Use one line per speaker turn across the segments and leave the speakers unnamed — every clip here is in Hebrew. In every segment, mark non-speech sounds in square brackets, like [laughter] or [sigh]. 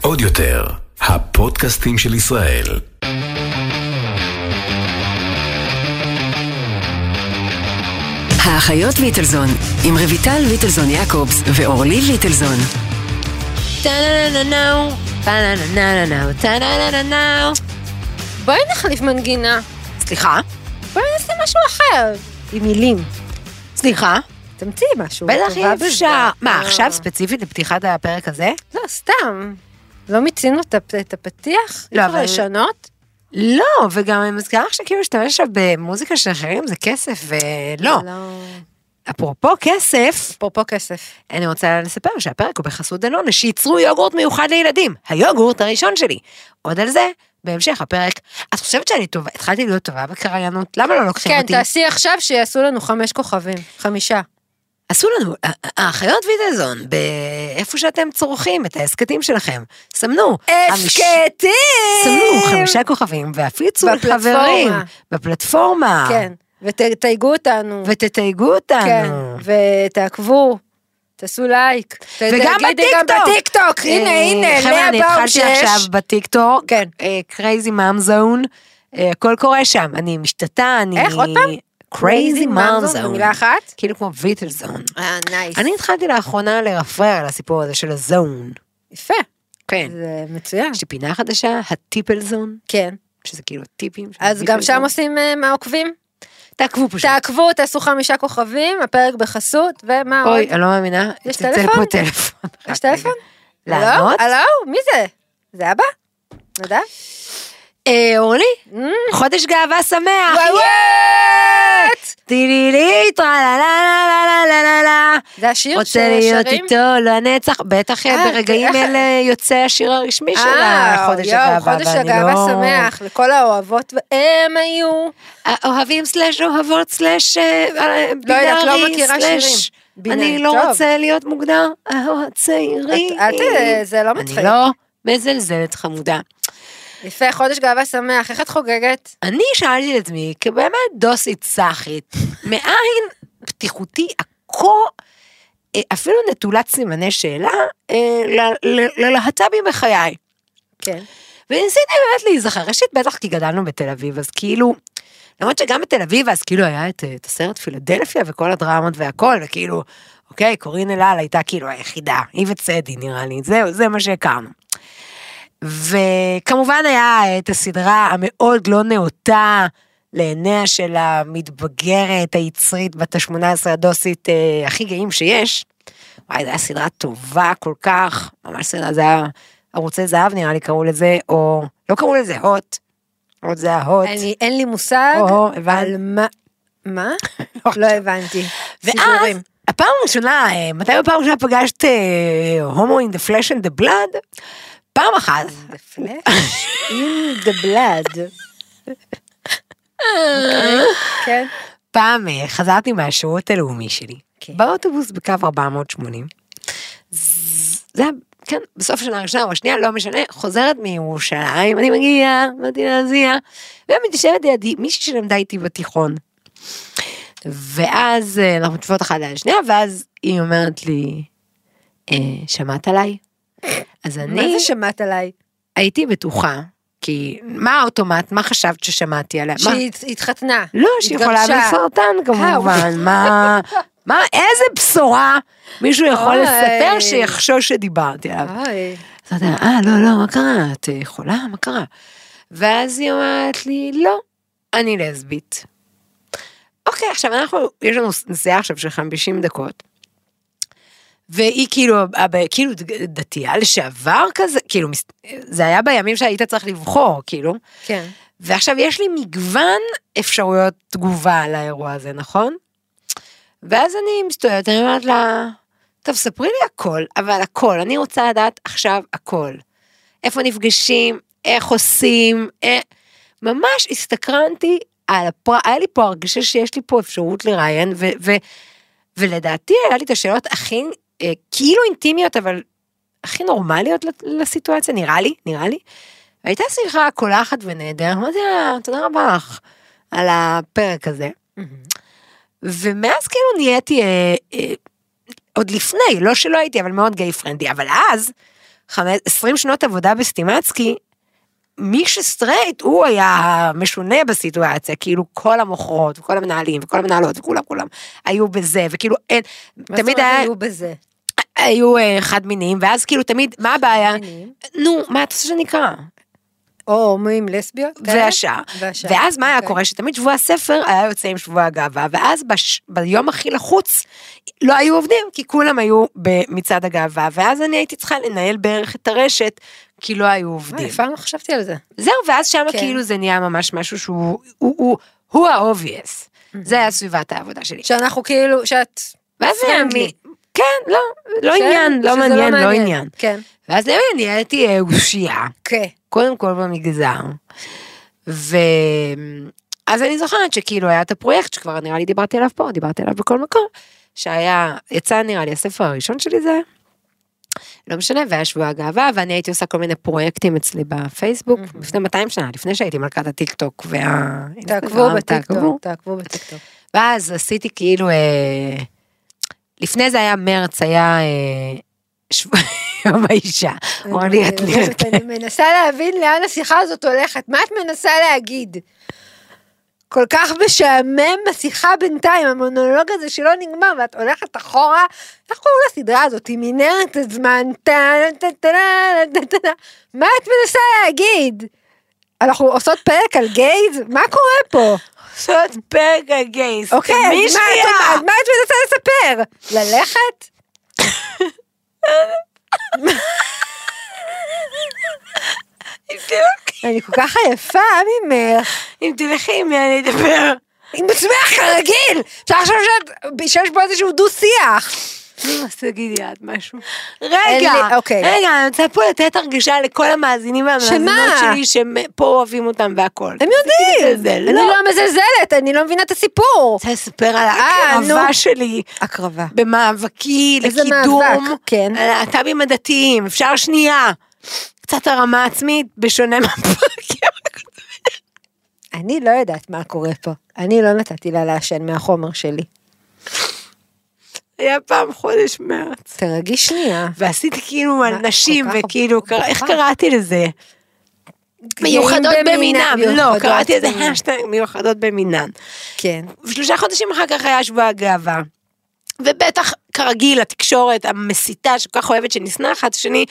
עוד יותר, הפודקאסטים של ישראל.
האחיות ליטלזון, עם רויטל ליטלזון יעקובס ואורלי ליטלזון.
טה-נה-נה-נאו, טה-נה-נה-נאו, טה-נה-נה-נאו.
בואי נחליף מנגינה.
סליחה?
בואי נעשה משהו אחר. עם מילים.
סליחה?
תמציאי משהו.
בטח
טובה
אי
בזה.
אפשר. מה, עכשיו ספציפית לפתיחת הפרק הזה?
לא, סתם. לא מיצינו את הפ- את הפתיח?
לא,
אי אפשר
אבל-
לשנות?
לא, וגם אני מזכירה לך שכאילו להשתמש עכשיו במוזיקה של אחרים זה כסף, ולא. אפרופו כסף,
לא. אפרופו כסף.
אני רוצה לספר שהפרק הוא בחסות דנונה, שייצרו יוגורט מיוחד לילדים. היוגורט הראשון שלי. עוד על זה, בהמשך הפרק. את חושבת שאני טובה, התחלתי להיות טובה בקריינות, למה לא לוקחים
כן,
אותי?
תעשי עכשיו שיעשו לנו חמש כוכבים. חמישה.
עשו לנו, אה, האחיות ויטלזון, באיפה שאתם צורכים את ההסכתים שלכם, סמנו. חמיש- סמנו חמישה כוכבים והפיצו
אה. בפלטפורמה.
לחברים. בפלטפורמה.
כן. ותתייגו אותנו.
ותתייגו אותנו.
כן. ותעקבו. תעשו לייק. ת-
וגם
תגידי גם
בטיקטוק.
בטיקטוק. הנה,
אה,
הנה,
חבר'ה,
לאה
אני
באום
התחלתי עכשיו
שיש.
בטיקטוק, אה,
כן.
קרייזי מאם זון, אה, הכל קורה שם, אני משתתה, אני...
איך, עוד פעם?
קרייזי מאם זון.
במילה אחת?
כאילו כמו ויטלזון.
אה, נייס.
אני התחלתי לאחרונה לרפרר על הסיפור הזה של הזון.
יפה.
כן.
זה מצוין.
יש לי פינה חדשה, הטיפלזון,
כן.
שזה כאילו טיפים. של
אז גם שם
הטיפלזון.
עושים אה, מה עוקבים?
תעקבו פשוט.
תעקבו, תעשו חמישה כוכבים, הפרק בחסות, ומה עוד?
אוי, אני לא מאמינה.
יש
צלצל
טלפון?
פה טלפון.
יש טלפון? הלו?
אה, לענות?
הלו? מי זה? זה אבא? נדב?
אה, אורלי,
וואי
חודש גאווה שמח!
וואט!
טילילי, טרלה לה לה לה לה לה לה
זה השיר
רוצה להיות
ששרים?
איתו לנצח, בטח
אה,
ברגעים
כן.
אלה יוצא השיר הרשמי של
אה,
החודש
יואו,
הגאווה,
חודש
ואני
הגאווה
לא-
שמח לכל האוהבות, והם היו.
אה, אוהבים סלאש אוהבות סלאש אה,
לא יודעת, לא
בינארי
מכירה
סלאש.
שירים.
אני
בינארי,
לא
טוב.
רוצה להיות מוגדר אה, צעירי.
את- אל ת- זה לא מצחיק.
אני לא מזלזלת חמודה.
יפה, חודש גאווה שמח, איך את חוגגת?
אני שאלתי את עצמי, כבאמת דוסית
[laughs]
סאחית, מאין פתיחותי הכה, אה, אפילו נטולת סימני שאלה, אה, ל- ל- ללהט"בים בחיי.
כן.
וניסיתי באמת להיזכר, ראשית בטח כי גדלנו בתל אביב, אז כאילו, למרות שגם בתל אביב אז כאילו היה את, אה, את הסרט פילדלפיה וכל הדרמות והכל, וכאילו, אוקיי, קורין אלעל הייתה כאילו היחידה, היא וצדי נראה לי, זהו, זה מה שהכרנו. וכמובן היה את הסדרה המאוד לא נאותה לעיניה של המתבגרת היצרית בת ה-18 הדוסית אה, הכי גאים שיש. וואי, זו הייתה סדרה טובה כל כך, ממש סדרה, זה היה ערוצי זהב נראה לי קראו לזה, או לא קראו לזה הוט, הוט זה ההוט.
אני, אין לי מושג
או, הבנת.
על מה...
[laughs]
מה? לא הבנתי.
ואז,
סיפורים.
הפעם הראשונה, אה, מתי בפעם הראשונה פגשת אה, הומו in the flesh and the blood? פעם אחת.
The flesh in the blood. כן.
פעם אה, חזרתי מהשירות הלאומי שלי,
כן.
באוטובוס בקו 480. ז- זה היה, כן, בסוף שנה ראשונה או השנייה, לא משנה, חוזרת מירושלים, אני מגיעה, באתי להזיע, ומתיישבת לידי מישהי שלמדה איתי בתיכון. ואז אה, אנחנו יושבות אחת על השנייה, ואז היא אומרת לי, אה, שמעת עליי? אז אני...
מה זה שמעת עליי?
הייתי בטוחה, כי מה האוטומט, מה חשבת ששמעתי עליה? מה-
שהיא התחתנה.
לא, שהיא חולה
התגרשה.
בסרטן כמובן, מה, מה, איזה בשורה מישהו יכול
אוי. אה?
לספר שיחשוש שדיברתי עליו.
אוי,
אז אמרתי לה, אה, לא, לא, מה קרה? את אה, חולה? מה קרה? ואז היא אומרת לי, לא, אני לסבית. אוקיי, עכשיו אנחנו, יש לנו נסיעה עכשיו של 50 דקות. והיא כאילו, הב- כאילו ד- דתייה לשעבר כזה, כאילו, מס- זה היה בימים שהיית צריך לבחור, כאילו.
כן.
ועכשיו יש לי מגוון אפשרויות תגובה על האירוע הזה, נכון? ואז אני מסתובבת, אני אומרת לה, טוב, ספרי לי הכל, אבל הכל, אני רוצה לדעת עכשיו הכל. איפה נפגשים, איך עושים, אה... ממש הסתקרנתי על הפר... היה לי פה הרגשה שיש לי פה אפשרות לראיין, ו... ו... ולדעתי היה לי את השאלות הכי, אה, כאילו אינטימיות, אבל הכי נורמליות לת- לסיטואציה, נראה לי, נראה לי. הייתה שיחה קולחת ונהדרת, אמרתי לה, תודה רבה לך על הפרק הזה. ומאז כאילו נהייתי אה, אה, עוד לפני, לא שלא הייתי, אבל מאוד גיי פרנדי, אבל אז, חמש- 20 שנות עבודה בסטימצקי, מי שסטרייט, הוא היה המשונה בסיטואציה, כאילו כל המוכרות, וכל המנהלים, וכל המנהלות, וכולם כולם היו בזה, וכאילו אין,
מה זאת
תמיד
אומרת
היה,
היו בזה.
היו אה, חד מיניים, ואז כאילו תמיד, מה הבעיה?
מיניים?
נו, מה את רוצה שנקרא?
או הומואים לסביות? כאלה?
והשאר.
והשאר,
ואז מה היה
אוקיי.
קורה? שתמיד שבוע הספר היה יוצא עם שבוע הגאווה, ואז בש... ביום הכי לחוץ לא היו עובדים, כי כולם היו במצעד הגאווה, ואז אני הייתי צריכה לנהל בערך את הרשת, כי לא היו
וואי,
עובדים.
אף פעם לא חשבתי על זה.
זהו, ואז שם
כן.
כאילו זה נהיה ממש משהו שהוא, הוא, הוא, הוא ה-obvious. זה היה סביבת העבודה שלי.
שאנחנו כאילו, שאת...
ואז היה
friendly.
מי... כן, לא, לא
כן,
עניין, לא
שזה
מעניין, לא עניין.
כן.
ואז למה נהייתי אה, אושייה?
כן.
קודם כל במגזר. ואז אני זוכרת שכאילו היה את הפרויקט שכבר נראה לי דיברתי עליו פה, דיברתי עליו בכל מקום, שהיה, יצא נראה לי הספר הראשון שלי זה, לא משנה, והיה שבוע הגאווה, ואני הייתי עושה כל מיני פרויקטים אצלי בפייסבוק, לפני 200 שנה, לפני שהייתי מלכת הטיק טוק וה...
תעקבו
אינסטגרם,
בטיקטוק, תעקבו בטיקטוק.
ואז עשיתי כאילו, אה, לפני זה היה מרץ, היה אה, שבוע [laughs] יום האישה, אורלי,
אה,
את נראית
אני מנסה להבין לאן השיחה הזאת הולכת, מה את מנסה להגיד? כל כך משעמם השיחה בינתיים, המונולוג הזה שלא נגמר, ואת הולכת אחורה, איך קוראים לסדרה הזאת? היא מנהרת הזמן, טה טה טה טה טה טה מה את מנסה להגיד? אנחנו עושות פרק על גייז? מה קורה פה?
לעשות פרק הגייס.
אוקיי, אז מה את אומרת- אז מה את מנסה לספר? ללכת?
[laughs]
אני כל כך עייפה ממך.
אוקיי. אם תלכי עם מי אני אדבר.
עם עצמך כרגיל! אפשר לחשוב שאת- שיש פה איזשהו דו-שיח.
אז תגידי את משהו.
אין
רגע,
לי- אוקיי.
רגע, אני רוצה פה לתת הרגשה לכל המאזינים והמאזינות
שמה?
שלי שהם פה אוהבים אותם והכל.
הם
תפסיקי
יודעים!
לזלזל.
אני
לא.
לא מזלזלת, אני לא מבינה את הסיפור.
רוצה לספר על
אה,
ההקרבה
נו.
שלי
הקרבה.
במאבקי
איזה
לקידום
מאבק, כן.
הלהט"בים הדתיים, אפשר שנייה. קצת הרמה עצמית, בשונה מהפרקים.
אני לא יודעת מה קורה פה. אני לא נתתי לה לעשן מהחומר שלי.
[laughs] היה פעם חודש מרץ.
תרגי שנייה.
ועשיתי כאילו על
מה,
נשים,
כל כך אוקיי.
וכאילו,
הפוכה.
איך קראתי לזה? מיוחדות
גאים
במינם, לא,
מיוחדות
קראתי לזה
במינם.
השטג מיוחדות במינן.
כן.
שלושה חודשים אחר כך היה שבוע הגאווה. ובטח, כרגיל, התקשורת המסיתה שכל כך אוהבת שנישנה אחת השני,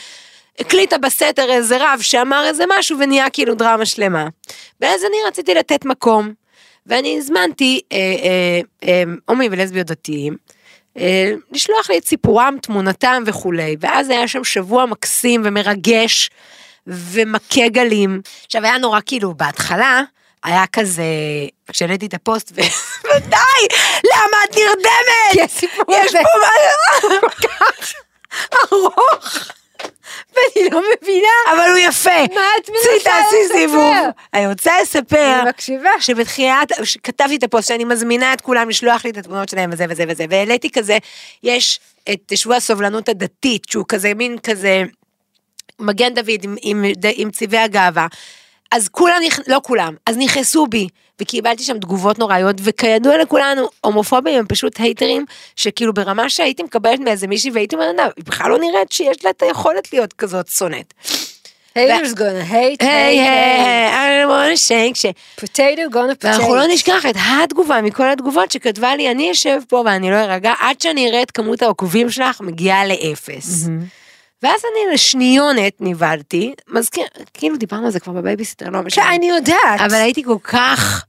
הקליטה בסתר איזה רב שאמר איזה משהו ונהיה כאילו דרמה שלמה. ואז אני רציתי לתת מקום, ואני הזמנתי אה, אה, אה, הומואים ולסביות דתיים. אה, לשלוח לי את סיפורם, תמונתם וכולי, ואז היה שם שבוע מקסים ומרגש ומכה גלים. עכשיו היה נורא כאילו בהתחלה, היה כזה, כשהעליתי את הפוסט [laughs] ו... ודי, למה את נרדמת?
כי [laughs] הסיפור
יש
הזה-
פה משהו...
ארוך. ואני לא מבינה.
אבל הוא יפה.
מה את
צאי,
מנסה
תעשי
לספר?
סיבוב. אני רוצה לספר.
אני מקשיבה.
שבתחילת, כתבתי את הפוסט שאני מזמינה את כולם לשלוח לי את התמונות שלהם וזה וזה וזה, והעליתי כזה, יש את שבוע הסובלנות הדתית, שהוא כזה מין כזה מגן דוד עם, עם, עם צבעי הגאווה. אז כולם, נכ... לא כולם, אז נכנסו בי, וקיבלתי שם תגובות נוראיות, וכידוע לכולנו, הומופובים הם פשוט הייטרים, שכאילו ברמה שהייתי מקבלת מאיזה מישהי והייתי אומרת, "נה, היא בכלל לא נראית שיש לה את היכולת להיות כזאת שונאת.
Haters gonna hate,
היי,
hate,
היי,
hate.
היי, I want to shake, shake.
potato gonna potato.
ואנחנו לא נשכח את התגובה מכל התגובות שכתבה לי, אני אשב פה ואני לא ארגע עד שאני אראה את כמות העוקבים שלך מגיעה לאפס. ואז אני לשניונת נבהלתי, מזכיר, כאילו דיברנו על זה כבר בבייביסיטר, לא
כן,
משנה.
אני יודעת.
אבל הייתי כל כך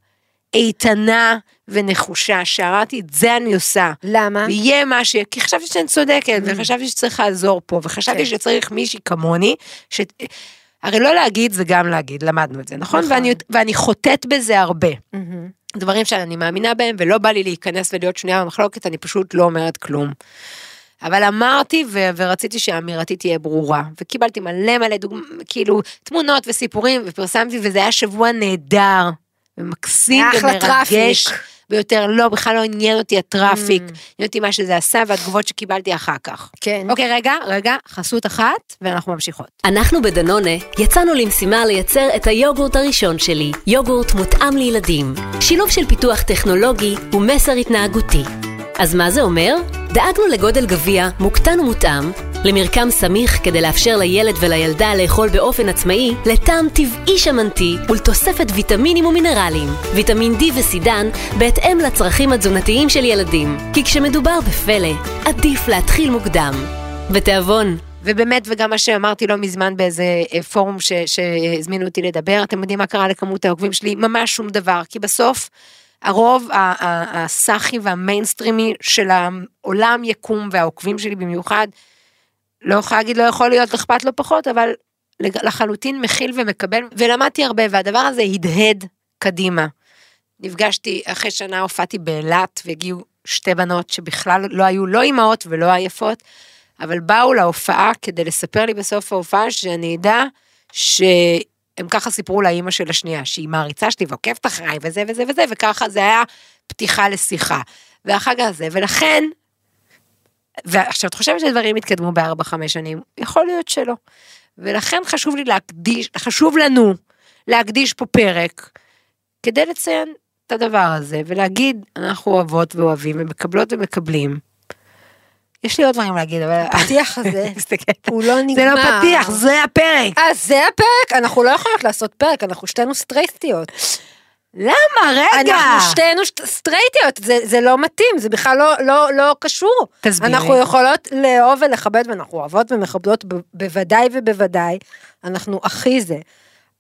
איתנה ונחושה, שאמרתי, את זה אני עושה.
למה? Mm.
יהיה מה שיהיה, כי חשבתי שאני צודקת, וחשבתי שצריך לעזור פה, וחשבתי
כן.
שצריך מישהי כמוני, ש... הרי לא להגיד זה גם להגיד, למדנו את זה, נכון?
נכון. Mm-hmm.
ואני, ואני חוטאת בזה הרבה.
מהמם.
דברים שאני מאמינה בהם, ולא בא לי להיכנס ולהיות שנייה במחלוקת, אני פשוט לא אומרת כלום. אבל אמרתי, ו- ורציתי שאמירתי תהיה ברורה, וקיבלתי מלא מלא דוגמא, כאילו, תמונות וסיפורים, ופרסמתי, וזה היה שבוע נהדר, ומקסים
היה אחלה
ומרגש.
טראפיק. Mm.
ביותר, לא, בכלל לא עניין אותי הטראפיק, עניין אותי מה שזה עשה והתגובות שקיבלתי אחר כך.
כן.
אוקיי, רגע, רגע, חסות אחת, ואנחנו ממשיכות.
אנחנו בדנונה יצאנו למשימה לייצר את היוגורט הראשון שלי, יוגורט מותאם לילדים. שילוב של פיתוח טכנולוגי ומסר התנהגותי. אז מה זה אומר? דאגנו לגודל גביע מוקטן ומותאם, למרקם סמיך כדי לאפשר לילד ולילדה לאכול באופן עצמאי, לטעם טבעי שמנתי ולתוספת ויטמינים ומינרלים, ויטמין D וסידן, בהתאם לצרכים התזונתיים של ילדים. כי כשמדובר בפלא, עדיף להתחיל מוקדם. בתיאבון.
ובאמת, וגם מה שאמרתי לא מזמן באיזה אה, פורום ש, שהזמינו אותי לדבר, אתם יודעים מה קרה לכמות העוקבים שלי? ממש שום דבר, כי בסוף הרוב ה- ה- הסאחי והמיינסטרימי של העולם יקום והעוקבים שלי במיוחד, לא יכולה להגיד לא יכול להיות, אכפת לו פחות, אבל לג- לחלוטין מכיל ומקבל, ולמדתי הרבה, והדבר הזה הדהד קדימה. נפגשתי, אחרי שנה הופעתי באילת, והגיעו שתי בנות שבכלל לא היו לא אימהות ולא עייפות, אבל באו להופעה כדי לספר לי בסוף ההופעה, שאני אדע שהם ככה סיפרו לאימא של השנייה, שהיא מעריצה שלי ועוקבת אחריי וזה וזה וזה, וככה זה היה פתיחה לשיחה. ואחר כך זה, ולכן, ועכשיו את חושבת שדברים התקדמו בארבע, חמש שנים, יכול להיות שלא. ולכן חשוב לי להקדיש, חשוב לנו להקדיש פה פרק כדי לציין את הדבר הזה ולהגיד, אנחנו אוהבות ואוהבים ומקבלות ומקבלים. יש לי עוד דברים להגיד, אבל... [laughs]
הפתיח הזה,
מסתכלת.
הוא לא נגמר.
זה לא פתיח, זה הפרק.
אז זה הפרק, אנחנו לא יכולות לעשות פרק, אנחנו שתינו סטרייסטיות.
למה? רגע.
אנחנו שתינו שט- סטרייטיות, זה, זה לא מתאים, זה בכלל לא, לא, לא קשור.
תסבירי.
אנחנו יכולות לאהוב ולכבד, ואנחנו אוהבות ומכבדות ב- בוודאי ובוודאי, אנחנו הכי זה.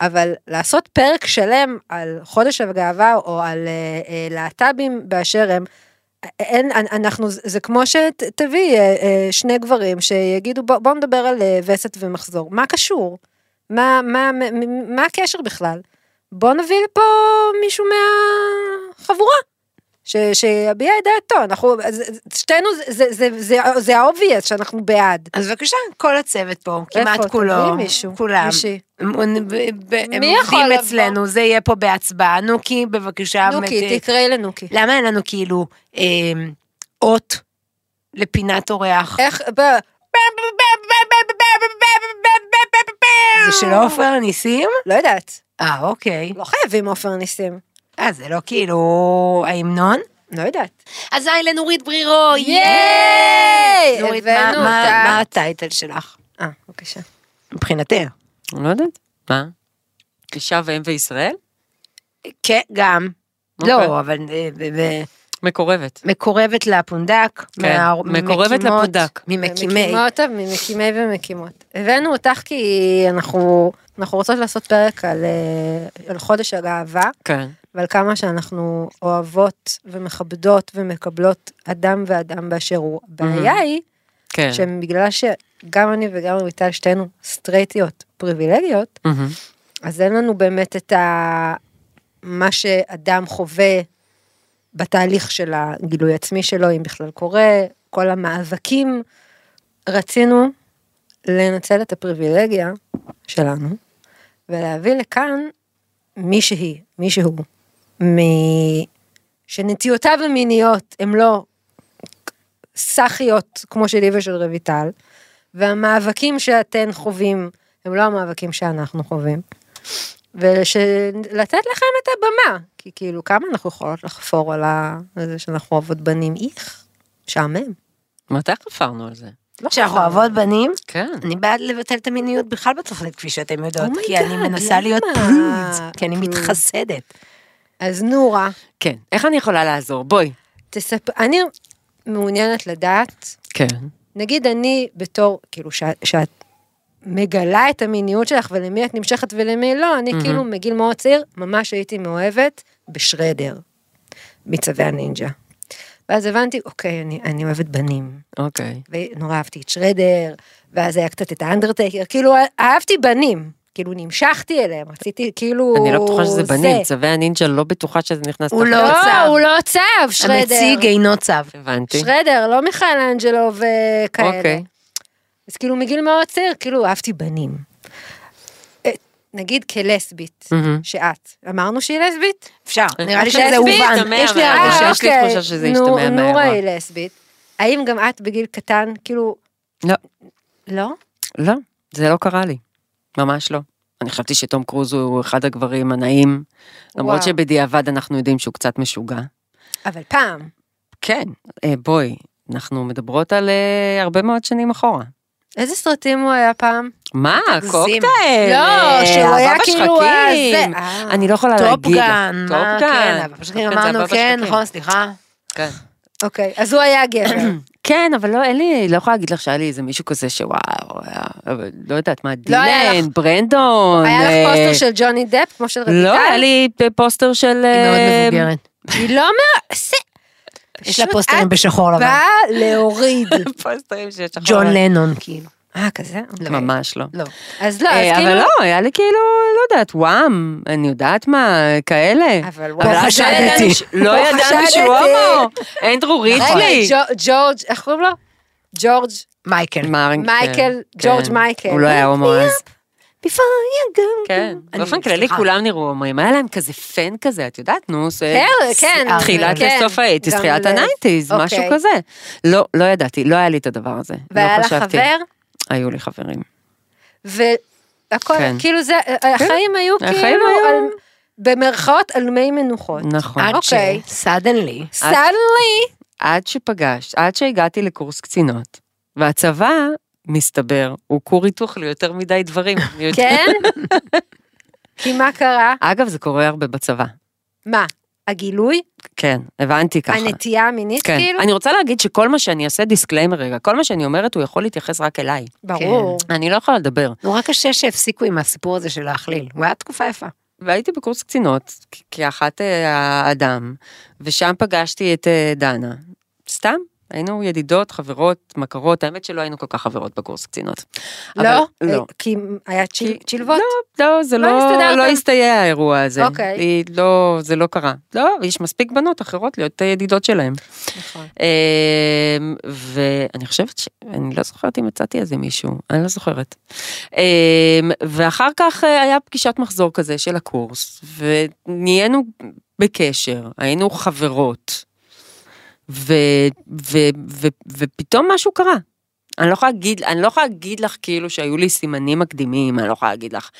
אבל לעשות פרק שלם על חודש הגאווה או על אה, אה, להט"בים באשר הם, אין, אנ- אנחנו, זה זה כמו שתביא אה, שני גברים שיגידו בוא- בואו נדבר על אה, וסת ומחזור, מה קשור? מה, מה, מ- מ- מה הקשר בכלל? בוא נביא לפה מישהו מהחבורה, ש, שיביע את דעתו, אנחנו, אז- אז שתינו, זה, זה, זה, זה, זה ה-obvious שאנחנו בעד.
אז בבקשה, כל הצוות פה, כמעט
איפה?
כולו,
תביאי מישהו,
כולם,
מישהי.
הם- הם- הם
מי יכול
עובדים
לבוא?
אצלנו, זה יהיה פה בהצבעה. נוקי, בבקשה.
נוקי,
מת-
תקראי לנוקי.
למה אין לנו כאילו אמ, אות לפינת אורח?
איך, ב...
זה של עופר ניסים?
לא יודעת,
אה, אוקיי.
לא חייבים עופר ניסים,
אה, זה לא כאילו ההמנון?
לא יודעת.
אזי לנורית ברירו,
ייי!
נורית, מה-
הבאנו
מה-
אותה.
מה הטייטל שלך?
אה, בבקשה.
מבחינתך.
אני לא יודעת. מה? אישה ואם וישראל?
כן, גם.
אוקיי.
לא, אבל אה, ב- ב-
מקורבת.
מקורבת לפונדק.
כן,
מה-
מקורבת
ממקימות-
לפונדק.
ממקימי.
מקימות, ממקימי ומקימות. הבאנו אותך כי אנחנו, אנחנו רוצות לעשות פרק על, אה, על חודש הגאווה,
כן.
ועל כמה שאנחנו אוהבות ומכבדות ומקבלות אדם ואדם באשר הוא. הבעיה היא
כן.
שבגלל שגם אני וגם רויטל שתינו סטרייטיות פריבילגיות,
מהמם.
אז אין לנו באמת את ה... מה שאדם חווה בתהליך של הגילוי עצמי שלו, אם בכלל קורה, כל המאבקים. רצינו לנצל את הפריבילגיה שלנו ולהביא לכאן מישהי, מישהו, מ... שנטיותיו המיניות הן לא סאחיות כמו שלי ושל רויטל, והמאבקים שאתן חווים הם לא המאבקים שאנחנו חווים. ולתת לכם את הבמה, כי כאילו כמה אנחנו יכולות לחפור על ה- על זה שאנחנו אוהבות בנים, איך, משעמם.
מתי חפרנו על זה?
לא
שאנחנו
חפרנו.
אוהבות בנים,
כן.
אני בעד לבטל את המיניות בכלל בתוכנית, כפי שאתם יודעות,
Oh my
כי אני
God,
מנסה להיות
למה? Hmm.
פלוד, כי אני
פלוד.
מתחסדת.
אז נורה,
כן. איך אני יכולה לעזור? בואי.
תספר, אני מעוניינת לדעת,
כן.
נגיד אני בתור, כאילו שאת- שאת מגלה את המיניות שלך ולמי את נמשכת ולמי לא, אני כאילו מגיל מאוד צעיר, ממש הייתי מאוהבת בשרדר, מצווי הנינג'ה. ואז הבנתי, אוקיי, אני, אני אוהבת בנים.
אוקיי.
ונורא אהבתי את שרדר, ואז היה קצת את האנדרטקר, כאילו אהבתי בנים, כאילו נמשכתי אליהם, רציתי כאילו...
אני לא בטוחה שזה
זה.
בנים. צווי הנינג'ה לא בטוחה שזה נכנס
הוא
תחת-
לא צב.
לא, הוא לא צב, שרדר.
הנציג אינו צו.
הבנתי.
שרדר, לא מיכאל אנג'לו וכאלה.
אוקיי.
אז כאילו מגיל מאוד צעיר, כאילו אהבתי בנים. אה, נגיד כלסבית,
מהמם.
שאת, אמרנו שהיא לסבית?
אפשר,
אה,
נראה לי
לסבית,
שזה הובן.
תמה,
יש לי
אבל-
הרגשה.
יש לי תחושה שזה
אוקיי. נו-
ישתמע
נורה
מהאירוע.
היא לסבית. האם גם את בגיל קטן, כאילו...
לא.
לא?
לא, זה לא קרה לי. ממש לא. אני חשבתי שתום קרוז הוא אחד הגברים הנאים, למרות
וואו.
שבדיעבד אנחנו יודעים שהוא קצת משוגע.
אבל פעם.
כן, אה, בואי, אנחנו מדברות על אה, הרבה מאוד שנים אחורה.
איזה סרטים הוא היה פעם?
מה,
תגזים.
קוקטייל,
לא,
אה,
שהוא
הבבא
היה כאילו
שחקים.
הזה, אה.
אני לא יכולה להגיד.
טופגן, מה,
טופגן.
כן, אבל פשוט
טופגן זה
אמרנו,
הבבא
כן,
שחקים.
נכון, סליחה.
כן.
אוקיי, אז הוא היה
[clears throat]
גבר.
כן, אבל לא, אין לי, לא יכולה להגיד לך שהיה לי איזה מישהו כזה שוואו, היה, אבל לא יודעת מה,
היה
דילן,
לך-
ברנדון.
היה
אה,
לך פוסטר של ג'וני דפ, כמו של רויטל?
לא, היה לי פוסטר של...
היא מאוד
אה,
מבוגרת.
היא לא אומרת... זה-
יש לה
פשוט
פוסטרים
את
בשחור לבן.
באה להוריד.
פוסטרים שיש לך.
ג'ון לנון, כאילו.
אה, כזה? אוקיי.
ממש לא.
לא.
אז לא,
אה,
אז
אבל
כאילו...
לא, היה לי כאילו, לא יודעת, וואם, אני יודעת מה, כאלה.
אבל
אבל
וואו,
אז
חשדתי.
לא ידענו ש- לא
פה
ידענו שהוא
חשדתי.
הומו, אנדרו ריטלי.
רגע, ג'ו- ג'ורג', איך קוראים לו? ג'ורג'
מייקל.
מרק-
מייקל,
כן,
ג'ורג'
כן.
מייקל.
הוא לא היה הומו אז.
before you go.
כן,
אני-
באופן כללי
סליחה.
כולם נראו הומואים, היה להם כזה פן כזה, את יודעת, נו, זה...
כן, כן,
ס- אה, תחילת
כן.
לסוף האייטיז,
גם
תחילת
ל-
הניינטיז,
אוקיי.
משהו כזה. לא, לא ידעתי, לא היה לי את הדבר הזה. לא
והיה לה
חשבתי.
חבר,
היו לי חברים.
והכל,
כן.
כאילו זה, החיים היו
החיים
כאילו,
היו-
על- במרכאות, על מי מנוחות.
נכון.
עד ש...
אוקיי.
סדנלי.
[laughs]
סדנלי,
עד שפגשת, עד שהגעתי לקורס קצינות, והצבא, מסתבר, הוא כור היתוך ליותר מדי דברים. אני יודעת.
[laughs] כן? כי מה קרה?
אגב, זה קורה הרבה בצבא.
מה? הגילוי?
כן, הבנתי ככה.
הנטייה המינית
כן.
כאילו?
אני רוצה להגיד שכל מה שאני אעשה, דיסקליימר רגע, כל מה שאני אומרת, הוא יכול להתייחס רק אליי.
ברור.
אני לא יכולה לדבר.
נורא קשה שהפסיקו עם הסיפור הזה של להכליל. הוא היה תקופה יפה.
והייתי בקורס קצינות, כ- כאחת אה, האדם, ושם פגשתי את אה, דנה. סתם, היינו ידידות, חברות, מכרות, האמת שלא היינו כל כך חברות בקורס קצינות. אבל-
לא?
לא.
כי היה צ'יל-
כי-
צ'ילבות?
לא, זה
לא
לא,
הסתדרתם?
לא הסתייע האירוע הזה.
אוקיי.
היא לא, זה לא קרה. לא, יש מספיק בנות אחרות להיות אה, ידידות שלהם.
נכון.
אמ, ואני חושבת ש... אני לא זוכרת אם מצאתי איזה מישהו, אני לא זוכרת. אמ, ואחר כך אה, היה פגישת מחזור כזה של הקורס, ונהיינו בקשר, היינו חברות, ו, ו, ו, ופתאום משהו קרה. אני לא יכולה להגיד, אני לא יכולה להגיד לך כאילו שהיו לי סימנים מקדימים, אני לא יכולה להגיד לך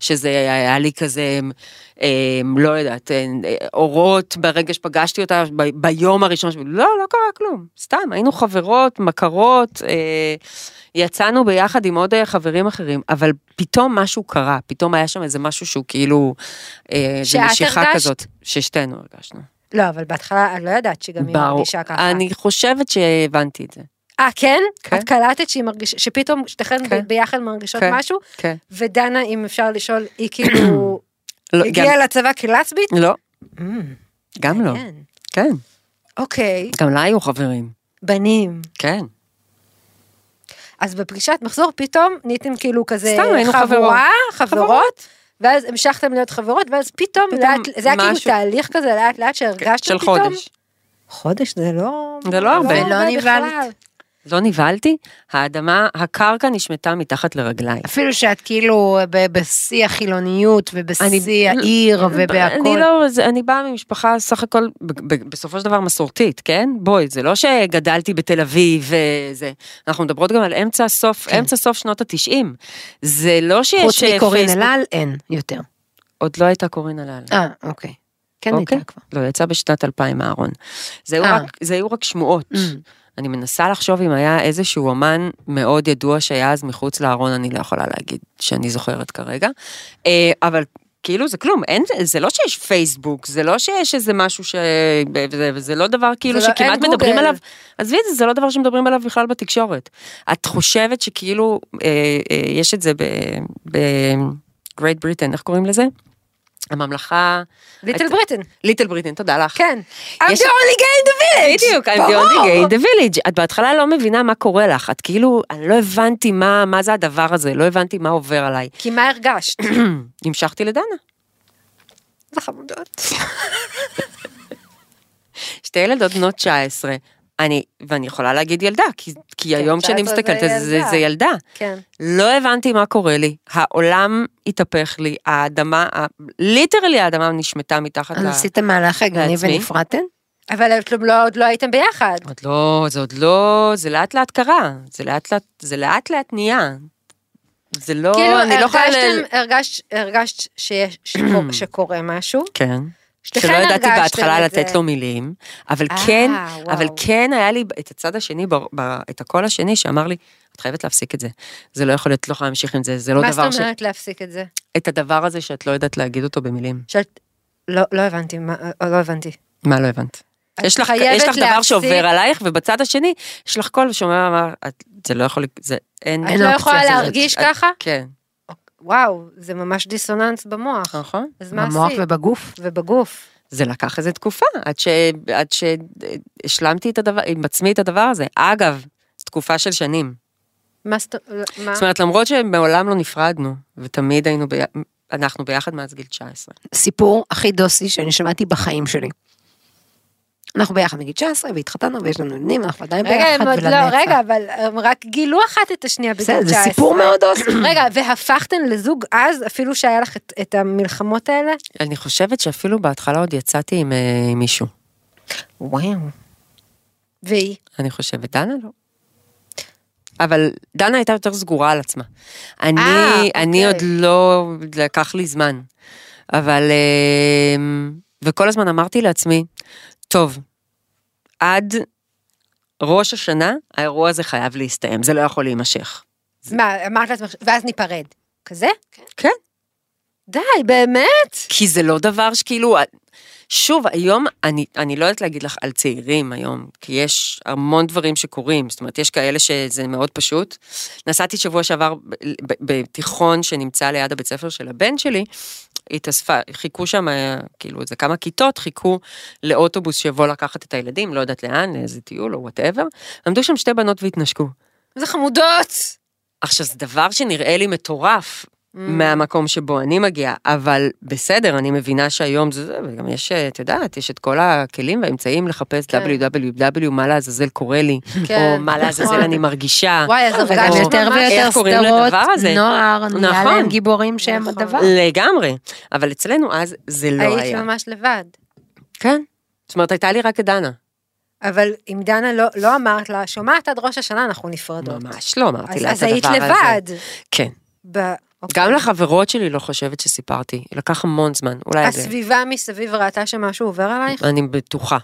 שזה היה לי כזה, אמ, לא יודעת, אמ, אורות ברגע שפגשתי אותה ב, ביום הראשון, ש- לא, לא קרה כלום, סתם, היינו חברות, מכרות, אה, יצאנו ביחד עם עוד אה, חברים אחרים, אבל פתאום משהו קרה, פתאום היה שם איזה משהו שהוא כאילו, אה, איזה
שאת
משיכה
הרגשת?
כזאת, ששתינו הרגשנו.
לא, אבל בהתחלה, אני לא ידעת שגם היא
ברור.
מרגישה ככה.
אני חושבת שהבנתי את זה.
אה, כן?
כן.
את קלטת שהיא מרגישה, שפתאום שתיכן
כן.
ב- ביחד מרגישות
כן.
משהו,
כן.
ודנה, אם אפשר לשאול, היא
[clears throat]
כאילו
לא, גם-
הגיעה לצבא כלסבית?
לא, גם לא.
מעניין.
כן.
אוקיי,
גם לה היו חברים.
בנים.
כן.
אז בפגישת מחזור פתאום נהייתם כאילו כזה
סתם, היינו
חבורה, חברות,
חברות.
ואז המשכתם להיות חברות, ואז פתאום,
פתאום
לאט- זה היה כאילו
משהו- כן,
תהליך כזה לאט לאט שהרגשתם
של
פתאום.
חודש.
חודש זה לא...
זה לא הרבה.
לא נבהלת.
בכלל.
לא נבהלתי, האדמה, הקרקע נשמטה מתחת לרגליי.
אפילו שאת כאילו ב- בשיא החילוניות ובשיא
אני-
העיר
אני
ובהכל.
לא, זה- אני באה ממשפחה סך הכל, ב- ב- בסופו של דבר מסורתית, כן? בואי, זה לא שגדלתי בתל אביב וזה. אנחנו מדברות גם על אמצע סוף, אמצע סוף שנות התשעים. זה לא שיש...
חוץ
אה,
מקורין
פייסבוק-
אלל אין יותר.
עוד לא הייתה קורין אלל.
אה, אוקיי. כן הייתה
אוקיי?
כבר.
לא, יצא בשנת 2000 אהרון. זה היו
אה.
רק- זה היו רק שמועות.
Mm.
אני מנסה לחשוב אם היה איזשהו אמן מאוד ידוע שהיה אז מחוץ לארון, אני לא יכולה להגיד שאני זוכרת כרגע. אה, אבל כאילו זה כלום, אין, זה לא שיש פייסבוק, זה לא שיש איזה משהו ש... זה, זה לא דבר כאילו
זה לא- אין
שכמעט
גוגל.
מדברים עליו. עזבי את זה, זה לא דבר שמדברים עליו בכלל בתקשורת. את חושבת שכאילו, אה, אה, יש את זה בגרייט בריטן, איך קוראים לזה? הממלכה...
ליטל בריטן,
ליטל בריטן, תודה לך.
כן. I'm the
יש-
only gay in the village!
בדיוק, I'm the only
ברור.
gay in the village. את בהתחלה לא מבינה מה קורה לך, את כאילו, אני לא הבנתי מה, מה זה הדבר הזה, לא הבנתי מה עובר עליי.
כי מה
[coughs]
הרגשת?
המשכתי לדנה.
זה חמודות.
שתי ילדות בנות 19, אני, ואני יכולה להגיד ילדה, כי, כי היום כשאני
19 כן, זה
מסתכלת על זה, זה,
ילדה.
זה ילדה.
כן.
לא הבנתי מה קורה לי, העולם התהפך לי, האדמה, ה- ליטרלי האדמה נשמטה מתחת
אז
ל...
עשיתם מהלך הגני
אה. לעצמי.
ונפרדתם?
אבל אתם לא- עוד לא הייתם ביחד.
עוד לא, זה עוד לא, זה לאט לאט קרה, זה לאט לאט, זה לאט לאט נהיה. זה לא,
כאילו
אני לא יכולה... ל- [coughs]
הרגשתם, הרגשת- הרגשת שיש- שקו- שקורה משהו,
כן.
שתיכן
שלא ידעתי
הרגשתם
בהתחלה
את זה.
לתת לו מילים, אבל
אה,
כן,
וואו.
אבל כן היה לי את הצד השני, ב- ב- את הקול השני שאמר לי, את חייבת להפסיק את זה. זה לא יכול להיות, את לא יכולה להמשיך עם זה, זה לא
מה
דבר
זאת
ש...
אומרת להפסיק את זה?
את הדבר הזה שאת לא יודעת להגיד אותו במילים.
שאת... לא, לא הבנתי, מה, אה, לא הבנתי.
מה לא הבנת?
את
יש לך,
חייבת
יש לך דבר
להפסיק-
שעובר עלייך, ובצד השני, יש לך קול ושומע מה, את- זה לא יכול, לק- זה אין,
את לא
אופציה
יכולה
אחרת.
להרגיש
את-
ככה?
כן,
וואו, זה ממש דיסוננס במוח.
נכון.
אז מה
במוח
עשית?
ובגוף.
ובגוף.
זה לקח איזה תקופה, עד, ש, עד שהשלמתי את הדבר, עם עצמי את הדבר הזה. אגב, תקופה של שנים.
מה זאת מה?
זאת אומרת, למרות שמעולם לא נפרדנו, ותמיד היינו ביחד, אנחנו ביחד מאז גיל 19.
סיפור הכי דוסי שאני שמעתי בחיים שלי. אנחנו ביחד מגיל 19 והתחתנו ויש לנו ילדים, אנחנו עדיין
רגע,
ביחד
הם עוד
ולנצח.
לא, רגע, אבל הם רק גילו אחת את השנייה בגיל
בסדר,
19.
זה סיפור מאוד דוסי.
[clears throat]
רגע, והפכתן לזוג אז, אפילו שהיה לך את, את המלחמות האלה?
אני חושבת שאפילו בהתחלה עוד יצאתי עם, אה, עם מישהו.
וואו. והיא?
אני חושבת, דנה לא. אבל דנה הייתה יותר סגורה על עצמה. אני,
אה, אוקיי.
אני עוד לא, לקח לי זמן. אבל, אמ, וכל הזמן אמרתי לעצמי, טוב, עד ראש השנה האירוע הזה חייב להסתיים, זה לא יכול להימשך.
מה, אמרת לעצמך, ואז ניפרד. כזה?
כן.
די, באמת?
כי זה לא דבר שכאילו, שוב, היום, אני, אני לא יודעת להגיד לך על צעירים היום, כי יש המון דברים שקורים, זאת אומרת, יש כאלה שזה מאוד פשוט. נסעתי שבוע שעבר ב- ב- בתיכון שנמצא ליד הבית ספר של הבן שלי, התאספה, חיכו שם, אה, כאילו, איזה כמה כיתות, חיכו לאוטובוס שיבוא לקחת את הילדים, לא יודעת לאן, לאיזה טיול או וואטאבר, עמדו שם שתי בנות והתנשקו.
איזה חמודות! Mm.
עכשיו, זה דבר שנראה לי מטורף מהמקום שבו אני מגיעה, אבל בסדר, אני מבינה שהיום זה זה, וגם יש, אה, את יודעת, יש את כל הכלים והאמצעים לחפש
כן.
www, מה לעזאזל קורה לי, או מה לעזאזל אני מרגישה.
נכון. וואי, אז
וגם
הרגשת
יותר
ממש...
ויותר
איך קוראים
סדרות,
לדבר הזה?
נוער, נהיה
נכון.
להם גיבורים שהם
נכון.
הדבר.
לגמרי, אבל אצלנו אז זה לא
היית
היה.
ממש לבד.
כן. זאת אומרת, הייתה לי רק את דנה.
אבל אם דנה לא, לא אמרת לה, שומעת עד ראש השנה אנחנו נפרדות.
ממש לא אמרתי
אז,
לה את
אז
הדבר הזה.
היית לבד.
כן.
ב... אוקיי.
גם לחברות שלי לא חושבת שסיפרתי, לקח המון זמן, אולי... זה-
הסביבה מסביב ראתה שמשהו עובר עלייך,
אני בטוחה.